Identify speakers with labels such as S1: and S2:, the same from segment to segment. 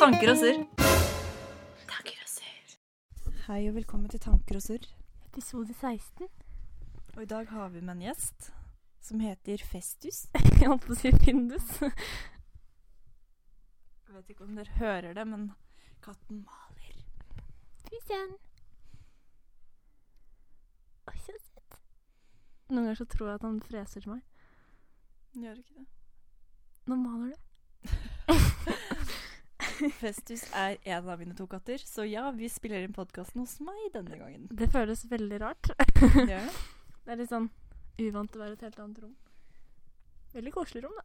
S1: Tanker og surr. Tanker og surr.
S2: Hei og velkommen til Tanker og surr.
S3: Episode 16.
S2: Og i dag har vi med en gjest som heter Festus.
S3: Jeg holdt på å si Findus.
S2: Jeg vet ikke om dere hører det, men katten maler.
S3: Christian. Å, så søtt. Noen ganger så tror jeg at han freser til meg.
S2: Den Gjør ikke det.
S3: Nå maler du.
S2: Festus er en av mine to katter, så ja, vi spiller inn podkasten hos meg denne gangen.
S3: Det føles veldig rart.
S2: Gjør det?
S3: Det er litt sånn uvant å være i et helt annet rom. Veldig koselig rom, da.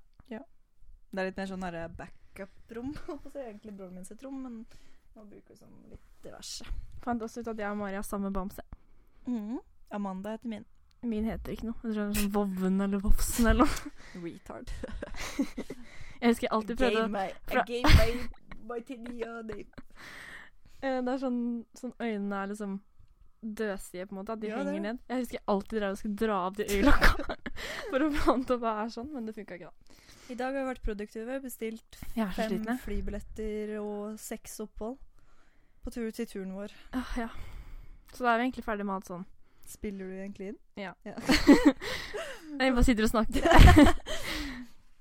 S2: Det er litt mer sånn derre backup-rom. Og så er egentlig broren min sitt rom, men nå bruker vi sånn litt diverse.
S3: Fant også ut at jeg og Mari har samme bamse.
S2: Amanda heter min.
S3: Min heter ikke noe. Jeg tror det er sånn Vovven eller Vofsen eller noe.
S2: Retard.
S3: Jeg husker jeg alltid prøvde å
S2: meg.
S3: fra-
S2: gave meg my tenia name.
S3: Eh, Det er sånn, sånn øynene er liksom døsige, på en måte. At de
S2: Ja, det
S3: henger
S2: er
S3: ned. Jeg husker jeg alltid drev og skulle dra av de øyelokka for å få han til å være sånn, men det funka ikke, da.
S2: I dag har vi vært produktive, bestilt
S3: Jeg er så
S2: Fem
S3: sliten, jeg.
S2: flybilletter og seks opphold på tur til turen vår.
S3: Åh, ja. Så da er vi egentlig ferdig med alt sånn.
S2: Spiller du egentlig inn?
S3: Nei, vi bare sitter og snakker.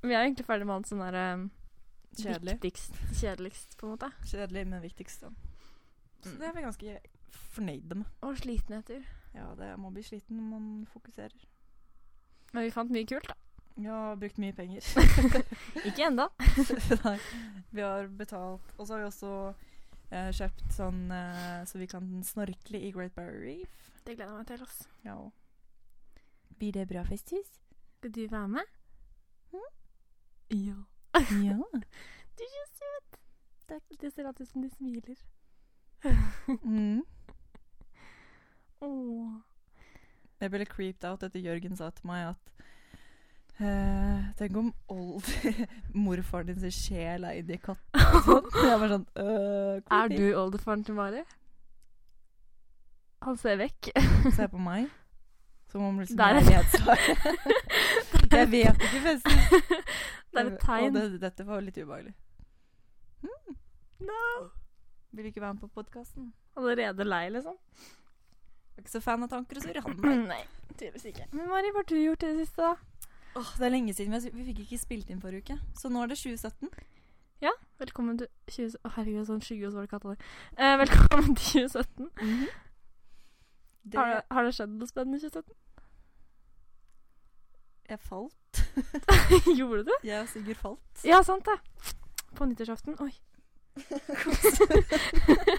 S3: vi er egentlig ferdig med alt sånn der eh,
S2: Kjedelig.
S3: viktigst, kjedeligst, på en måte.
S2: Kjedelig, men viktigst. da. Så det er vi ganske fornøyde med.
S3: Og slitenheter.
S2: Ja, det må bli sliten når man fokuserer.
S3: Men vi fant mye kult, da.
S2: Vi har brukt mye penger.
S3: Ikke ennå.
S2: Nei, vi har betalt. Og så har vi også eh, kjøpt sånn eh, så vi kan snorkle i Great Barrier Reef.
S3: Det gleder jeg meg til. ass.
S2: Ja. Blir det bra festhus?
S3: Skal du være med? Hm? Ja.
S2: Ja.
S3: Du er så søt! Takk. Det ser alltid ut som de smiler.
S2: Mm.
S3: Åh.
S2: Jeg ble creeped out etter Jørgen sa til meg at eh, Tenk om old morfaren din sin sjel er inni katta. og sånn. Og Jeg var sånn øh,
S3: Er
S2: creepy.
S3: du oldefaren til Mari? Han ser vekk.
S2: Se på meg. Som om liksom
S3: Der er
S2: jeg vet svaret. jeg vet ikke festen.
S3: Det er et tegn.
S2: Og det, dette var litt ubehagelig.
S3: No.
S2: Vil ikke være med på podkasten.
S3: Allerede lei, liksom?
S2: Er ikke så fan av tanker og surr. han.
S3: Nei, tydeligvis ikke. Men Mari, hva har du gjort i det siste, da?
S2: Åh, det er lenge siden. Vi, vi fikk ikke spilt inn forrige uke. Så nå er det 2017.
S3: Velkommen til 20... Å, herregud, sånn skygge og svart katt der. Eh, velkommen til 2017.
S2: Mhm. det,
S3: Har, det- har det skjedd noe spennende i 2017?
S2: jeg falt.
S3: Gjorde du?
S2: Jeg og Sigurd falt.
S3: Ja, sant det. På nyttårsaften. Oi.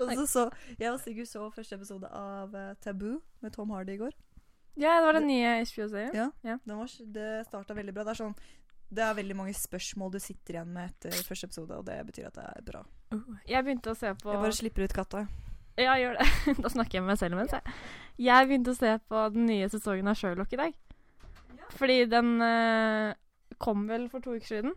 S2: Og så så, jeg og Sigurd så første episode av eh, Taboo med Tom Hardy i går.
S3: Ja, det var den nye HBO-serien.
S2: Ja. Den var, s- det starta veldig bra. Det er, sånn, det er veldig mange spørsmål du sitter igjen med etter første episode, og det betyr at det er bra.
S3: Jeg begynte å se på
S2: Jeg bare slipper ut katta.
S3: Ja, gjør det. da snakker jeg med meg selv mens, jeg. Jeg begynte å se på den nye sesongen av Sherlock i dag. Fordi den eh, kom vel for to uker siden.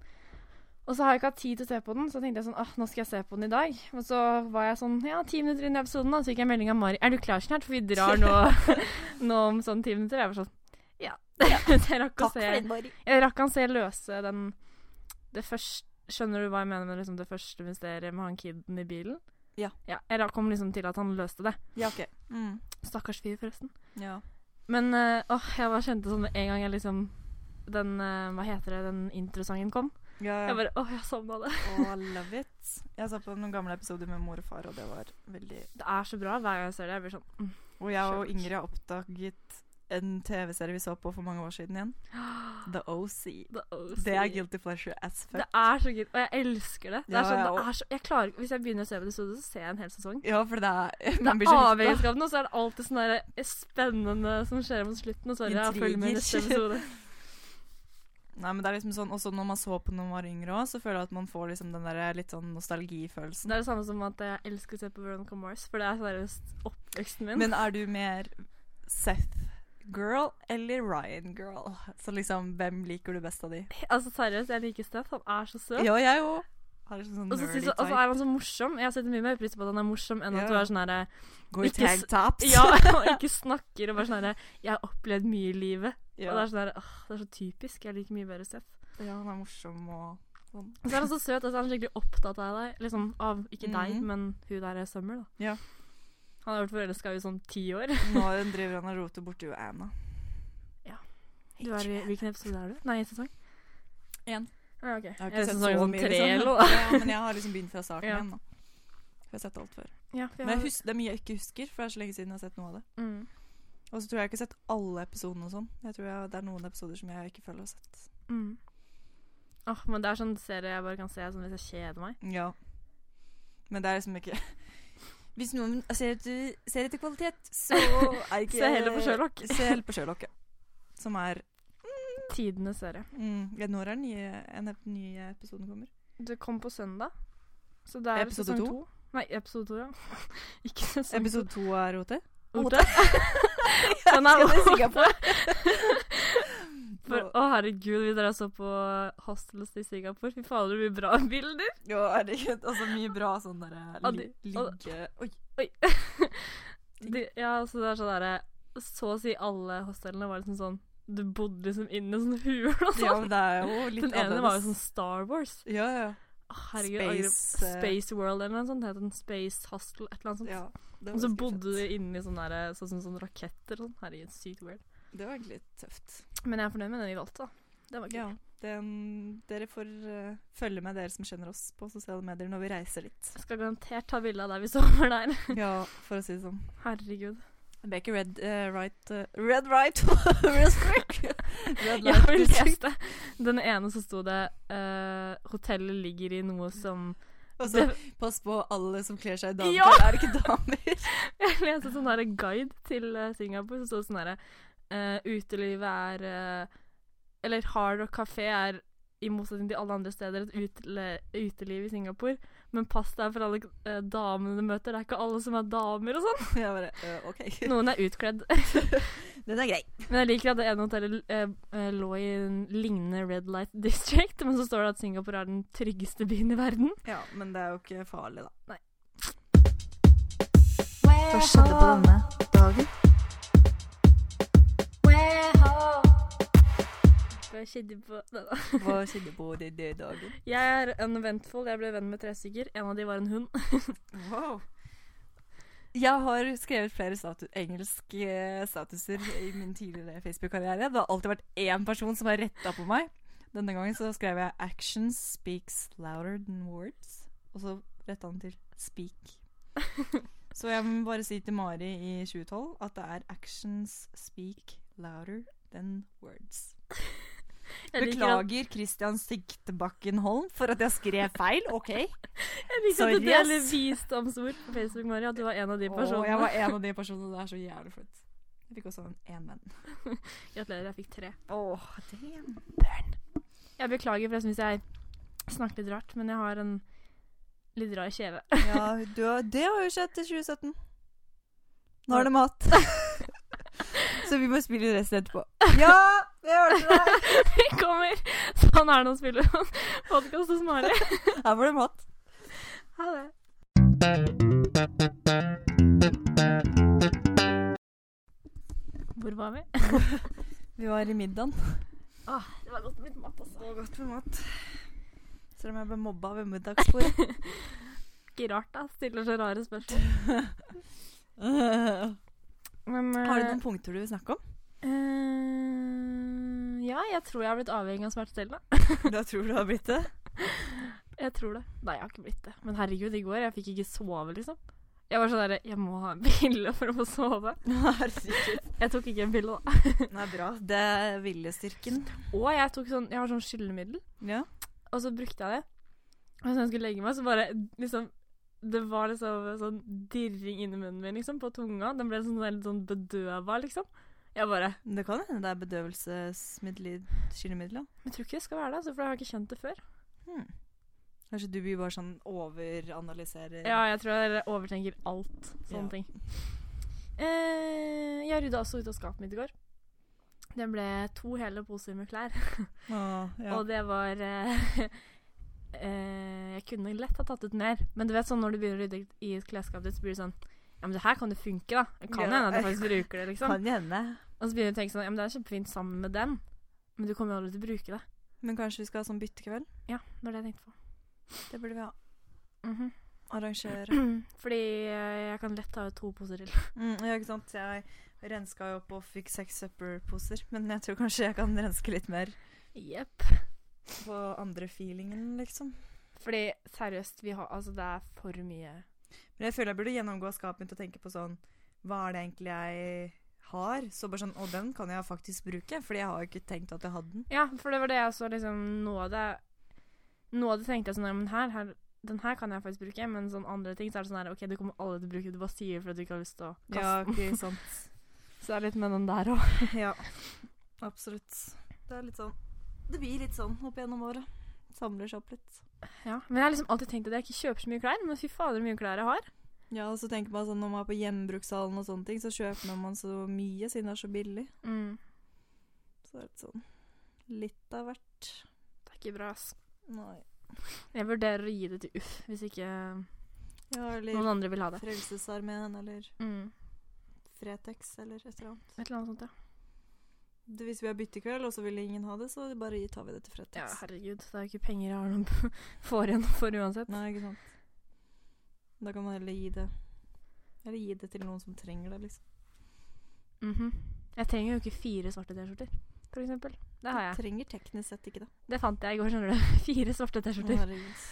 S3: Og så har jeg ikke hatt tid til å se på den, så tenkte jeg sånn Åh, nå skal jeg se på den i dag. Men så var jeg sånn Ja, ti minutter inn i episoden, da, så fikk jeg melding av Mari. Er du klar snart? For vi drar nå, nå om sånn ti minutter. Jeg var sånn Ja. så jeg rakk å se
S2: Mari.
S3: Jeg rakk han se løse den det første, Skjønner du hva jeg mener med liksom det første mysteriet med han kiden i bilen?
S2: Ja.
S3: jeg rakk- kom liksom til at han løste det.
S2: Ja, OK. Mm.
S3: Stakkars fyr, forresten.
S2: Ja.
S3: Men eh, åh, jeg bare kjente sånn med en gang jeg liksom den, eh, hva heter det, den introsangen kom.
S2: Ja,
S3: Jeg bare, åh, jeg savna det.
S2: Oh, love it. Jeg så på noen gamle episoder med mor og far, og det var veldig
S3: Det er så bra hver gang jeg ser det. Jeg blir sånn, mm.
S2: Og jeg og
S3: Sherlock.
S2: Ingrid har oppdaget en TV-serie vi så på for mange år siden igjen. The OC.
S3: the OC.
S2: Det er guilty pleasure as fuck.
S3: Det er så gøy, og jeg elsker det. det,
S2: Ja,
S3: er sånn,
S2: ja, og-
S3: det er så, jeg klarer, ikke- hvis jeg begynner å se på episode, så ser jeg en hel sesong.
S2: Ja, for det er
S3: Det
S2: man blir
S3: er
S2: så hekta.
S3: avhengighetsskapen, og så er det alltid sånn der spennende som skjer mot slutten. Og så er det, ja, følg med i neste
S2: Intriger.
S3: episode.
S2: Nei, men det er liksom sånn, også når man så på når man var yngre også, så føler jeg at man får liksom den der litt sånn
S3: Det
S2: nostalgifølelsen.
S3: er det samme som at jeg elsker å se på Veronica Mars, for det er seriøst oppveksten min.
S2: Men er du mer Seth-girl eller Ryan-girl? Så liksom, hvem liker du best av de?
S3: altså seriøst, jeg liker Steph. Han er så søt.
S2: Ja, jeg òg. Har liksom sånn
S3: Og så synes
S2: nerdy
S3: jeg- og så
S2: type.
S3: er han så morsom. Jeg setter mye mer pris på at han er morsom enn at
S2: Ja.
S3: du er sånn herre
S2: Går i
S3: ikke s-
S2: tag tops.
S3: Ja, og ikke snakker og bare sånn herre Jeg har opplevd mye i livet. Og
S2: Ja.
S3: det er sånn herre Åh, det er så typisk. Jeg liker mye bedre Steph.
S2: ja, han er morsom og Sånn.
S3: Og så er han så søt. Altså, han er skikkelig opptatt av deg. Liksom, av ikke deg,
S2: Mhm.
S3: men hun der er Summer, da.
S2: Ja.
S3: Han har vært forelska i sånn ti år.
S2: Nå driver han og roter borti jo Anna.
S3: Ja.
S2: Hate
S3: Du er,
S2: you,
S3: i-
S2: Anna.
S3: hvilken episode er du? Nei, i sesong?
S2: En.
S3: Ja, ok.
S2: Jeg
S3: Jeg
S2: har
S3: er
S2: ikke
S3: i
S2: sett
S3: sesong
S2: så
S3: sånn
S2: mye,
S3: tre
S2: liksom.
S3: eller noe.
S2: ja, men jeg har liksom begynt fra starten
S3: Ja.
S2: igjen. Da. For jeg har sett alt før.
S3: Ja, for jeg
S2: Men jeg
S3: har-
S2: hus det er mye jeg ikke husker, for det er så lenge siden jeg har sett noe av det.
S3: Mm.
S2: Og så tror jeg ikke jeg har sett alle episodene og sånn. Jeg tror jeg, det er noen episoder som jeg ikke føler å ha sett.
S3: Mm. Åh, men det er sånn serie jeg bare kan se sånn hvis jeg kjeder meg.
S2: Ja. Men det er liksom ikke Hvis noen ser etter, ser etter kvalitet, så er ikke
S3: Se heller på Sherlock.
S2: Se heller på Sherlock, ja. Som er
S3: Tidenes serie.
S2: mm, ja, Når er den nye, en ep- nye episoden kommer?
S3: Det kom på søndag. Så det er
S2: Episode
S3: sesong
S2: to?
S3: to. Nei, episode to, ja. ikke sesong
S2: Episode to er OT?
S3: to. Orte.
S2: Det
S3: Den er
S2: er jeg
S3: over.
S2: sikker på.
S3: For, å, herregud, vi dere så på Hostels i Singapore. Fy fader, det blir bra bilder.
S2: Jo, herregud. Altså, mye bra sånn derre
S3: Og
S2: li
S3: de- og-
S2: ligge... Oi.
S3: De, ja, altså, det er sånn derre Så å si alle hostellene var liksom sånn Du bodde liksom inne i sånn hul og
S2: Ja,
S3: sånn.
S2: men det er jo litt
S3: Den ene var jo sånn Star Wars.
S2: Ja, ja.
S3: Å, herregud, jeg angrer på-
S2: Space, eh,
S3: Space World eller noe sånt. Det het en Space Hostel, et eller annet sånt.
S2: ja det var
S3: og så
S2: sikkert
S3: bodde
S2: fett.
S3: de inne i sånne, der, sånn, sånn, sånn raketter og sånn. Herregud, sykt weird.
S2: Det var egentlig litt tøft.
S3: Men jeg er fornøyd med den vi valgte, da. Det var
S2: Ja.
S3: kult.
S2: Den, dere får eh, følge med, dere som kjenner oss, på sosiale medier når vi reiser litt.
S3: Jeg skal garantert ta bilde av der vi sover der.
S2: Ja, for å si det sånn.
S3: Herregud.
S2: Det ble ikke Red eh, Right eh, Red Right District. Red
S3: Jeg
S2: Light
S3: vil
S2: District.
S3: lese Den ene så sto det eh, 'Hotellet ligger i noe som
S2: Og så
S3: det,
S2: pass på alle som kler seg i
S3: Ja!
S2: dameklær. Er det ikke damer?
S3: Jeg leste sånn der guide til eh, Singapore, så sto det sånn herre Utelivet er eh, Eller Hard Rock kafé er i motsetning til alle andre steder et utele, uteliv i Singapore. Men pass deg for alle eh, damene du møter. Det er ikke alle som er damer og sånn.
S2: Jeg bare, eh, ok.
S3: Noen er utkledd.
S2: Den er grei.
S3: Men jeg liker at det ene hotellet eh, eh, lå i en lignende Red Light District. Men så står det at Singapore er den tryggeste byen i verden.
S2: Ja, men det er jo ikke farlig, da.
S4: Hva skjedde på denne dagen?
S3: Hva skjedde på Nei da.
S2: Hva skjedde på den den dagen?
S3: Jeg er uneventful. Jeg ble venn med tre stykker. En av de var en hund.
S2: Wow. Jeg har skrevet flere statu engelske eh, statuser i min tidligere Facebook-karriere. Det har alltid vært én person som har retta på meg. Denne gangen så skrev jeg 'Action speaks louder than words', og så retta han til 'speak'. Så jeg må bare si til Mari i 2012 at det er 'actions speak louder than words'.
S3: Jeg liker at-
S2: Beklager Christian Sigtebakken Holm for at jeg skrev feil, OK?
S3: Jeg liker at du
S2: Sorry,
S3: deler
S2: ass.
S3: visdomsord på Facebook, Maria. At du var en av de
S2: Åh,
S3: personene.
S2: jeg var en av de personene. Det er så jævlig flaut. Jeg fikk også en én venn.
S3: Gratulerer, jeg fikk tre.
S2: Åh, damn.
S3: Jeg beklager forresten hvis jeg snakker litt rart, men jeg har en litt rar kjeve.
S2: Ja, du, har- det har jo skjedd til 2017. Nå er det mat. så vi må spille resten etterpå. Ja, jeg hørte deg.
S3: Vi kommer! Sånn er det å spille podkast hos Mari.
S2: Her var det mat.
S3: Ha det. Hvor var vi?
S2: Vi var i middagen.
S3: Åh, det var godt med litt mat, altså.
S2: var godt med mat. Selv om jeg ble mobba ved middagsbordet.
S3: Ikke rart, da. Stiller så rare spørsmål. Men
S2: har du noen punkter du vil snakke om?
S3: eh, Ja, jeg tror jeg har blitt avhengig av smertestillende.
S2: Da tror du har blitt det.
S3: Jeg tror det. Nei, jeg har ikke blitt det. Men herregud, i går jeg fikk ikke sove, liksom. Jeg var sånn derre Jeg må ha en pille for å få sove.
S2: Herregud.
S3: Jeg tok ikke en pille, da.
S2: Nei, bra. Det er viljestyrken.
S3: Og jeg tok sånn Jeg har sånn skyllemiddel,
S2: Ja.
S3: og så brukte jeg det. Og så når jeg skulle legge meg, så bare liksom Det var liksom sånn dirring inni munnen min, liksom, på tunga. Den ble sånn, litt sånn bedøva, liksom. Jeg bare
S2: Men Det kan hende det er bedøvelsesmiddel i skyllemidler.
S3: Men jeg tror ikke det skal være det, altså, for jeg har ikke kjent det før.
S2: Hmm. Kanskje du blir bare sånn overanalyserer
S3: Ja, jeg tror jeg overtenker alt sånne
S2: Ja.
S3: ting. Eh, jeg rydda også ut av skapet mitt i går. Det ble to hele poser med klær.
S2: Å, ja.
S3: Og det var eh, eh, Jeg kunne lett ha tatt ut mer. Men du vet sånn når du begynner å rydde i et klesskap ditt, så blir det sånn Ja, men det her kan jo funke, da. Det kan
S2: Ja.
S3: hende at jeg faktisk bruker det, liksom.
S2: Kan hende.
S3: Og så begynner du å tenke sånn Ja, men det er kjempefint sammen med den, men du kommer jo aldri til å bruke det.
S2: Men kanskje vi skal ha sånn byttekveld?
S3: Ja, det var det jeg tenkte på.
S2: Det burde vi ha.
S3: Mhm.
S2: Arrangere.
S3: Fordi eh, jeg kan lett ta ut to poser til.
S2: Mm, ja, ikke sant. Jeg renska jo opp og fikk seks søppelposer. Men jeg tror kanskje jeg kan renske litt mer
S3: Jepp.
S2: på andre feelingen, liksom.
S3: Fordi seriøst, vi har Altså, det er for mye.
S2: Men jeg føler jeg burde gjennomgå skapet mitt og tenke på sånn Hva er det egentlig jeg har? Så bare sånn Å, den kan jeg faktisk bruke. Fordi jeg har jo ikke tenkt at jeg hadde den.
S3: Ja, for det var det jeg så liksom Noe av det Noe av det tenkte jeg sånn ja, men her, her, Den her kan jeg faktisk bruke, men sånn andre ting så er det sånn her OK, du kommer alle til å bruke det, du bare sier det fordi du ikke har lyst til å kaste
S2: Ja,
S3: den.
S2: ikke sant.
S3: Så det er litt med den der òg.
S2: Ja, absolutt. Det er litt sånn Det blir litt sånn opp gjennom åra. Samler seg opp litt.
S3: Ja. Men jeg har liksom alltid tenkt at jeg ikke kjøper så mye klær, men fy fader hvor mye klær jeg har.
S2: Ja, og så tenker man sånn Når man er på hjemmebrukshallen og sånne ting, så kjøper man så mye siden det er så billig.
S3: Mm.
S2: Så det er litt sånn Litt av hvert.
S3: Det er ikke bra, ass.
S2: Nei.
S3: Jeg vurderer å gi det til Uff, hvis ikke
S2: Ja, eller
S3: noen andre vil ha det.
S2: Frelsesarmeen eller
S3: Mm.
S2: Fretex eller et eller annet.
S3: Et eller annet sånt, ja.
S2: Det, hvis vi har byttekveld, og så vil ingen ha det, så bare gi- tar vi det til
S3: Ja,
S2: Fretex.
S3: herregud. Det er jo ikke penger jeg har noen får igjen for uansett.
S2: Nei, ikke sant. Da kan man heller gi det Eller gi det til noen som trenger det, liksom.
S3: Mhm. Jeg trenger jo ikke fire svarte T-skjorter, for eksempel. Det har jeg.
S2: Du trenger teknisk sett ikke det.
S3: Det fant jeg i går, skjønner du. Fire svarte
S2: Å,
S3: T-skjorter.
S2: Herregud.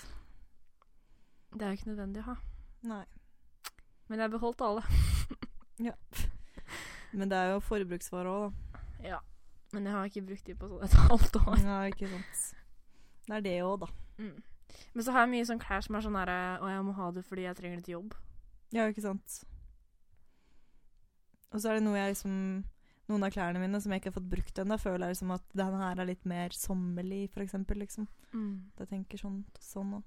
S3: Det er jo ikke nødvendig å ha.
S2: Nei.
S3: Men jeg beholdt alle.
S2: Men det er jo forbruksvare òg, da.
S3: Ja. Men jeg har ikke brukt de på sånn et halvt år.
S2: Nei, ikke sant. Det er det òg, da.
S3: Mm. Men så har jeg mye sånn klær som er sånn herre Å, jeg må ha det fordi jeg trenger det til jobb.
S2: Ja, ikke sant. Og så er det noe jeg liksom Noen av klærne mine som jeg ikke har fått brukt ennå, føler jeg liksom at den her er litt mer sommerlig, for eksempel, liksom. At Jeg tenker sånn sånn òg.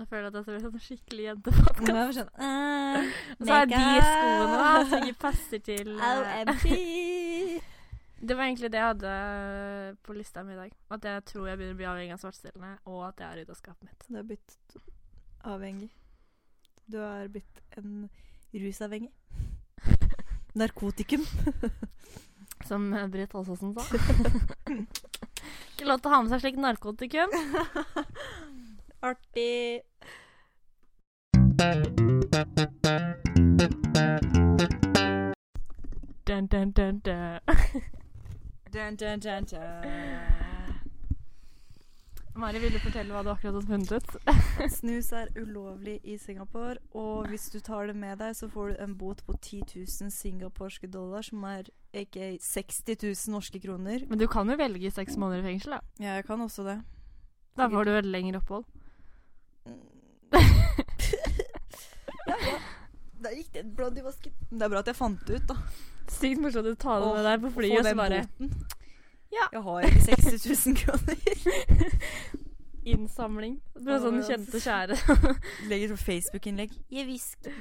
S3: Nå føler jeg at jeg er sånn skikkelig jente.
S2: Og så er jeg sånn, eh,
S3: Og så er de
S2: makeup.
S3: skoene da, som ikke passer til eh,
S2: OMG!
S3: Det var egentlig det jeg hadde på lista mi i dag. At jeg tror jeg begynner å bli avhengig av svartstillene, og at jeg har rydda skapet mitt.
S2: Du er blitt avhengig. Du er blitt en rusavhengig. Narkotikum.
S3: Som eh, Britt Aasassen sa. Ikke lov til å ha med seg slikt narkotikum.
S2: Artig.
S3: Dun, dun, dun, dun.
S2: Dun, dun, dun,
S3: Mari, vil du fortelle hva du akkurat har funnet ut?
S2: Snus er ulovlig i Singapore, og hvis du tar det med deg, så får du en bot på 10 000 singaporske dollar, som er ikke 60 000 norske kroner.
S3: Men du kan jo velge seks måneder i fengsel, da.
S2: Ja, jeg kan også det.
S3: Da får du et lengre opphold.
S2: Mm. Der gikk det et blad i vasken. Det er bra at jeg fant det ut, da.
S3: Sykt morsomt å ta det
S2: Åh,
S3: med deg på
S2: å
S3: flyet
S2: få
S3: og så
S2: den
S3: bare
S2: boten.
S3: Ja.
S2: Jeg har ikke 60 000 kroner.
S3: innsamling. Du er sånn
S2: Åh, ja.
S3: kjente kjære.
S2: Legger sånn Facebook-innlegg. Jeg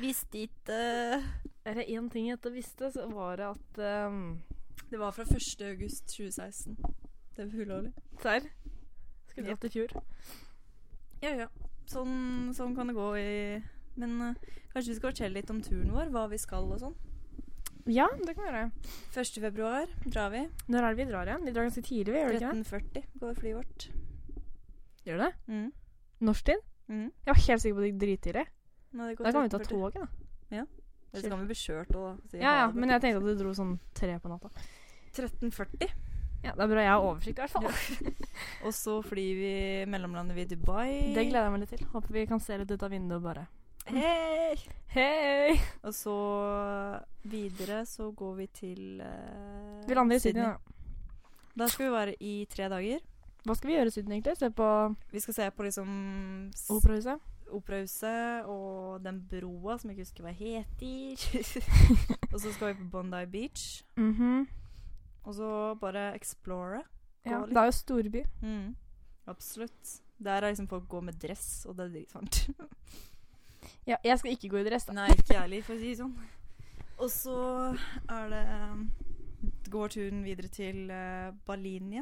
S2: visste ikke eh,
S3: Er det én ting jeg ikke visste, så var det at ehm,
S2: Det var fra 1. august 2016. Det er ulovlig.
S3: Serr?
S2: Jep.
S3: Skulle dratt i fjor.
S2: Ja, ja. Sånn, sånn kan det gå i Men eh, kanskje vi skal fortelle litt om turen vår, hva vi skal og sånn.
S3: Ja, det kan vi gjøre.
S2: 1. februar drar vi.
S3: Når er det vi drar igjen? Vi drar ganske tidlig, vi, gjør vi ikke det?
S2: 13.40 går flyet vårt.
S3: Gjør det?
S2: Mm.
S3: Norsk tid?
S2: Mm.
S3: Jeg var helt sikker på at det gikk drittidlig.
S2: Nei, det går
S3: Da kan vi ta
S2: 13.40.
S3: toget, da.
S2: Eller så kan vi bli kjørt og si
S3: Ja, ja,
S2: ha det.
S3: men jeg tenkte at du dro sånn tre på natta.
S2: 13.40.
S3: Ja, Det er bra jeg har oversikt, i hvert fall.
S2: Og så flyr vi mellomlandet vi i Dubai.
S3: Det gleder jeg meg litt til. Håper vi kan se litt ut av vinduet og bare
S2: Hei!
S3: Hei!
S2: Og så videre så går vi til eh,
S3: Vi lander i Syden, da.
S2: Da skal vi være i tre dager.
S3: Hva skal vi gjøre i Syden, egentlig? Se på
S2: Vi skal se på liksom s-
S3: Operahuset?
S2: Operahuset og den broa som jeg ikke husker hva heter. og så skal vi på Bondi Beach.
S3: Mhm.
S2: Og så bare explore.
S3: Ja,
S2: Gå litt.
S3: det er jo storby.
S2: Mm. Absolutt. Der er liksom folk går med dress, og det er dritvarmt.
S3: Ja, jeg skal ikke gå i dress, da.
S2: Nei, ikke jeg heller, for å si det sånn. Og så er det um, Går turen videre til eh, Balinia.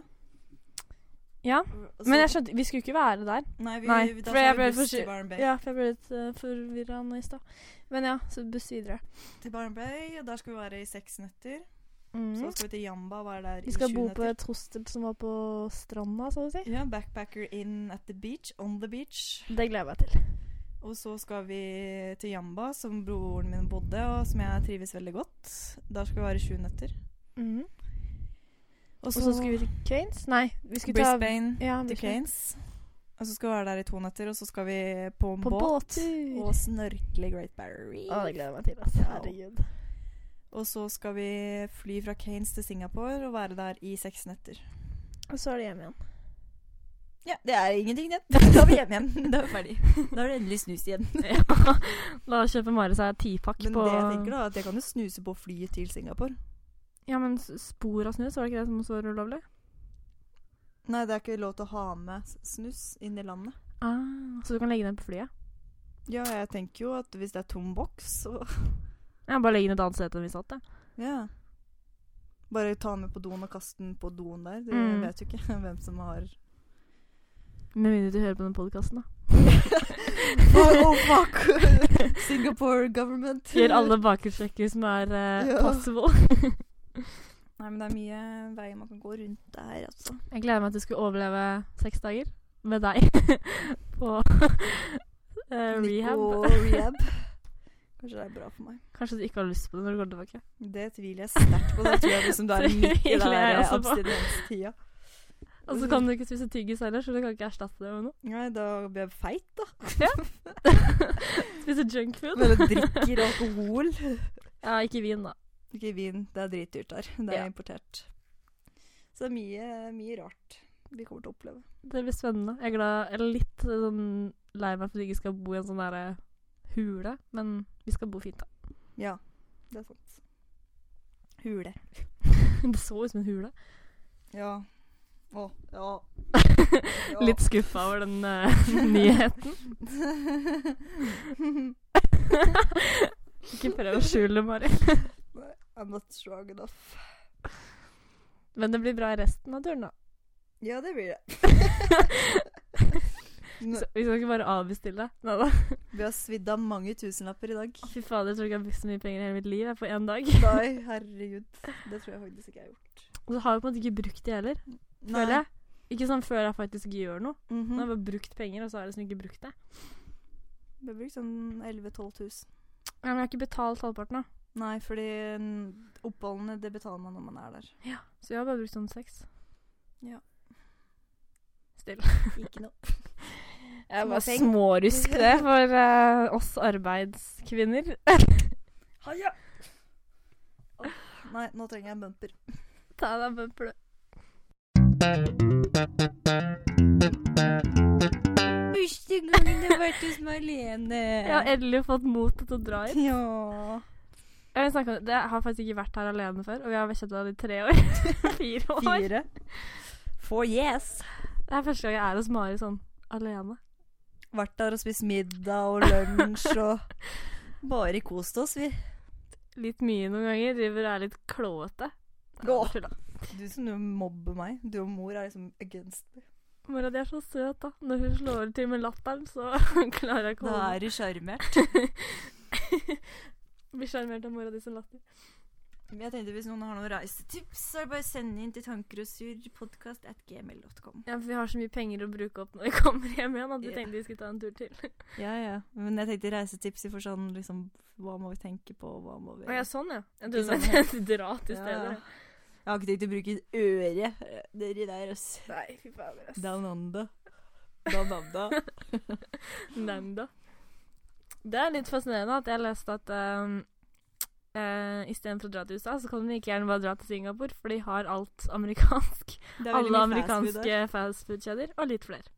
S3: Ja,
S2: Og så-
S3: Men jeg skjønte, vi skulle ikke være der.
S2: Nei, vi,
S3: nei,
S2: da
S3: for jeg
S2: tar vi
S3: ble
S2: buss
S3: forsi-
S2: til Byron Bay.
S3: Ja, for jeg ble litt uh, forvirra nå i stad. Men ja, så buss videre.
S2: Til Byron Bay, og der skal vi være i seks netter. Så
S3: Mm.
S2: skal vi til Jamba og være der
S3: Vi skal
S2: i
S3: bo
S2: sju
S3: på
S2: netter.
S3: et hostel som var på stranda, så å si.
S2: Ja, Backpacker in at the beach, on the beach.
S3: Det gleder jeg meg til.
S2: Og så skal vi til Jamba, som broren min bodde, og som jeg trives veldig godt. Der skal vi være i sju netter.
S3: Mm.
S2: Og
S3: Og så skulle vi til Cranes? Nei, vi skulle ta
S2: Brisbane
S3: ja,
S2: til
S3: Brisbane.
S2: Cranes. Og så skal vi være der i to netter, og så skal vi på,
S3: På
S2: båt.
S3: båttur.
S2: Og snorkle i Great Barrier Reef.
S3: Å, det gleder jeg meg til. Altså.
S2: Ja.
S3: Herregud.
S2: Og så skal vi fly fra Cranes til Singapore og være der i seks netter.
S3: Og så er det hjem igjen.
S2: Ja, det er ingenting igjen. Da er vi hjemme igjen. Da er vi ferdig. Da er det endelig snus igjen.
S3: Ja. Da kjøper Mari seg tipakk
S2: Men
S3: på
S2: det jeg tenker da, er at jeg kan jo snuse på flyet til Singapore.
S3: Ja, men s- spor av snus, var det ikke det som også var ulovlig?
S2: Nei, det er ikke lov til å ha med s- snus inn i landet.
S3: Ah, så du kan legge den på flyet?
S2: Ja, jeg tenker jo at hvis det er tom boks, så
S3: Ja, bare legge den et annet sted enn vi satt, det.
S2: Ja. Bare ta den med på doen og kaste den på doen der. Du
S3: Mm.
S2: vet jo ikke hvem som har
S3: Med mindre du hører på den podkasten, da.
S2: Oh, oh fuck! Singapore government.
S3: Gjør alle bakgrunnssjekker som er eh,
S2: Ja.
S3: possible.
S2: Nei, men det er mye veier man kan gå rundt der, altså.
S3: Jeg gleder meg til du skulle overleve seks dager med deg på eh, rehab.
S2: Nico rehab. Kanskje det er bra for meg.
S3: Kanskje du ikke har lyst på det når du går tilbake.
S2: Det tviler jeg sterkt på. Da tror jeg liksom det er midt i
S3: Tviler
S2: den
S3: jeg
S2: der
S3: også på.
S2: abstinenstida.
S3: Og så kan du ikke spise tyggis heller, så du kan ikke erstatte det med noe.
S2: Nei, da blir jeg feit, da.
S3: Spise junkfood.
S2: Når du drikker alkohol.
S3: Ja, ikke vin, da.
S2: Ikke vin. Det er dritdyrt der. Det er
S3: Ja.
S2: importert. Så det er mye, mye rart vi kommer til å oppleve.
S3: Det blir spennende. Jeg er glad, eller litt sånn lei meg for at vi ikke skal bo i en sånn derre hule, men vi skal bo fint, da.
S2: Ja, det er sant. Hule.
S3: Det så ut som en hule.
S2: Ja. Å, ja. ja.
S3: Litt skuffa over den eh, nyheten. Ikke prøv å skjule det, Mari.
S2: I'm not strong enough.
S3: Men det blir bra i resten av turen, da.
S2: Ja, det blir det. Nå,
S3: Så vi skal ikke bare avbestille. Nei da.
S2: vi har svidd av mange tusenlapper i dag.
S3: Fy fader, jeg tror ikke jeg har brukt så mye penger i hele mitt liv jeg, på én dag.
S2: Nei, herregud. Det tror jeg faktisk ikke jeg har gjort.
S3: Og så har jeg på en måte ikke brukt det heller, føler jeg. Ikke sånn før jeg faktisk gjør noe.
S2: Mhm.
S3: Nå
S2: Mm.
S3: har jeg bare brukt penger, og så har jeg liksom ikke brukt det.
S2: Vi har brukt sånn 11 000-12 000.
S3: Ja, men jeg har ikke betalt halvparten, da.
S2: Nei, fordi mm, oppholdene, det betaler man når man er der.
S3: Så jeg har bare brukt sånn seks.
S2: Ja.
S3: Still.
S2: Ikke noe.
S3: Jeg
S2: Små
S3: bare
S2: ting.
S3: smårusk det for eh, oss arbeidskvinner.
S2: Haja! Åh, nei, nå trenger jeg en bumper.
S3: Ta deg bømpel.
S1: Første gangen du har vært hos Marlene.
S3: Jeg har endelig fått motet til å dra hit.
S2: Ja.
S3: Jeg vil snakke om det. Jeg har faktisk ikke vært her alene før, og vi har kjent hverandre i tre år. Fire år.
S2: Fire. Four yes.
S3: Det er første gang jeg er hos Mari sånn alene.
S2: Vært der og spist middag og lunsj og Bare kost oss, vi.
S3: Litt mye noen ganger. Driver og er litt klåete. Nei,
S2: Gå.
S3: bare tulla.
S2: Du som du mobber meg. Du og mor er liksom against me.
S3: Mora di er så søt, da. Når hun slår til med latteren, så klarer jeg ikke å
S1: Da
S3: holde
S1: er du sjarmert.
S3: Blir sjarmert av mora di som latter.
S2: Men jeg tenkte Hvis noen har noen reisetips, så er det bare å sende inn til tanker og surr, podcast at gmail.com.
S3: Ja, for vi har så mye penger å bruke opp når vi kommer hjem igjen, at vi
S2: Ja.
S3: tenkte vi skulle ta en tur til.
S2: Ja, ja. Men jeg tenkte reisetips i forstand liksom, Hva må vi tenke på? Hva må vi
S3: Å ja, sånn, ja. Jeg
S2: Ikke
S3: trodde
S2: sånn.
S3: du mente dra til
S2: Ja,
S3: stedet.
S2: ja. Jeg har ikke tenkt å bruke øret. Dere der, ass.
S3: Nei, fy fader, ass.
S2: Down under. Down under.
S3: Nemnda. Det er litt fascinerende at jeg leste at um, uh, istedenfor å dra til USA, så kan du like gjerne bare dra til Singapore, for de har alt amerikansk.
S2: Det er veldig mye
S3: Alle
S2: fast food der.
S3: amerikanske fastfood-kjeder, og litt flere.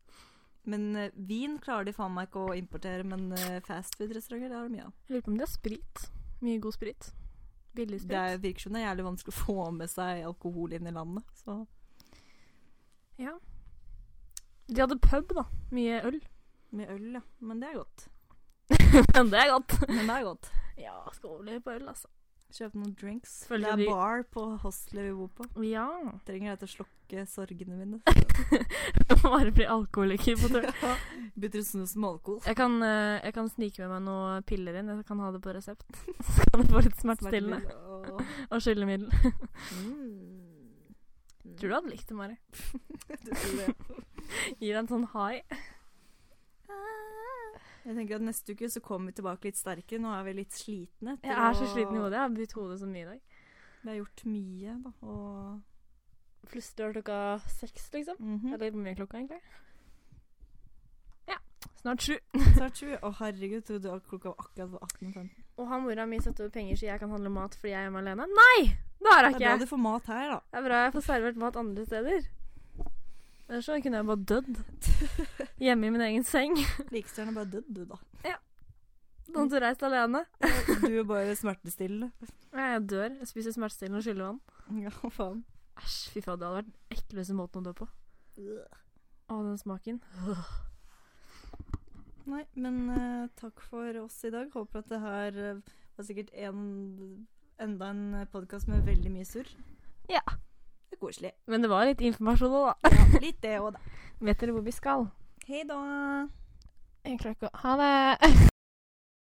S2: Men eh, vin klarer de faen meg ikke å importere, men eh, fastfood-restauranter, det har de mye av.
S3: Jeg lurer på om de har sprit. Mye god sprit. Billig sprit.
S2: Det er- virker som det er jævlig vanskelig å få med seg alkohol inn i landet, så
S3: Ja. De hadde pub, da. Mye øl.
S2: Med øl, ja. Men det er godt.
S3: Men det er godt.
S2: Men det er godt.
S3: Ja, skal overleve på øl, altså.
S2: Kjøpe noen drinks.
S3: Følger
S2: det
S3: de-
S2: er bar på hostelet vi bor på.
S3: Ja.
S2: Trenger det til å slokke sorgene mine.
S3: Bare bli alkoholiker på tur.
S2: Bytter ut snus med alkohol.
S3: Jeg kan, eh, jeg kan snike med meg noen piller inn. Jeg kan ha det på resept. Så kan jeg få litt smertestillende
S2: Smertemiddel og-
S3: og skyllemiddel.
S2: Mm.
S3: Tror du hadde likt det, Mari?
S2: Du tror det?
S3: Gir deg en sånn high.
S2: Jeg tenker at Neste uke så kommer vi tilbake litt sterkere. Nå er vi litt slitne. etter
S3: Jeg er så
S2: å-
S3: sliten i hodet. Jeg har brukt hodet så mye i dag.
S2: Vi har gjort mye, da. Og
S3: Plutselig var klokka seks, liksom.
S2: Mhm.
S3: Eller hvor mye er klokka, egentlig? Ja. Snart sju.
S2: Snart sju. Å, herregud, trodde jeg klokka var akkurat var 18.15.
S3: Og har mora mi satt over penger så jeg kan handle mat fordi jeg er hjemme alene? Nei! Det har
S2: Det
S3: jeg
S2: er
S3: ikke.
S2: bra du får mat her, da.
S3: Det er bra jeg får servert mat andre steder. Ellers så kunne jeg bare dødd. Hjemme i min egen seng.
S2: Like gjerne bare dødd, du, da.
S3: Sånn til reist alene.
S2: Du er bare smertestillende.
S3: Nei, Jeg dør. Jeg spiser smertestillende og skyller vann.
S2: Ja, faen.
S3: Æsj, fy faen. Det hadde vært den ekleste måten å dø på. Å, den smaken.
S2: Nei, men eh, takk for oss i dag. Håper at det her eh, var sikkert en, enda en podkast med veldig mye surr.
S3: Ja.
S2: Det er koselig.
S3: Men det var litt informasjon òg, da.
S2: Ja, litt det òg, da.
S3: Vet dere hvor vi skal?
S2: Hei da.
S3: Jeg klarer ikke å Ha det!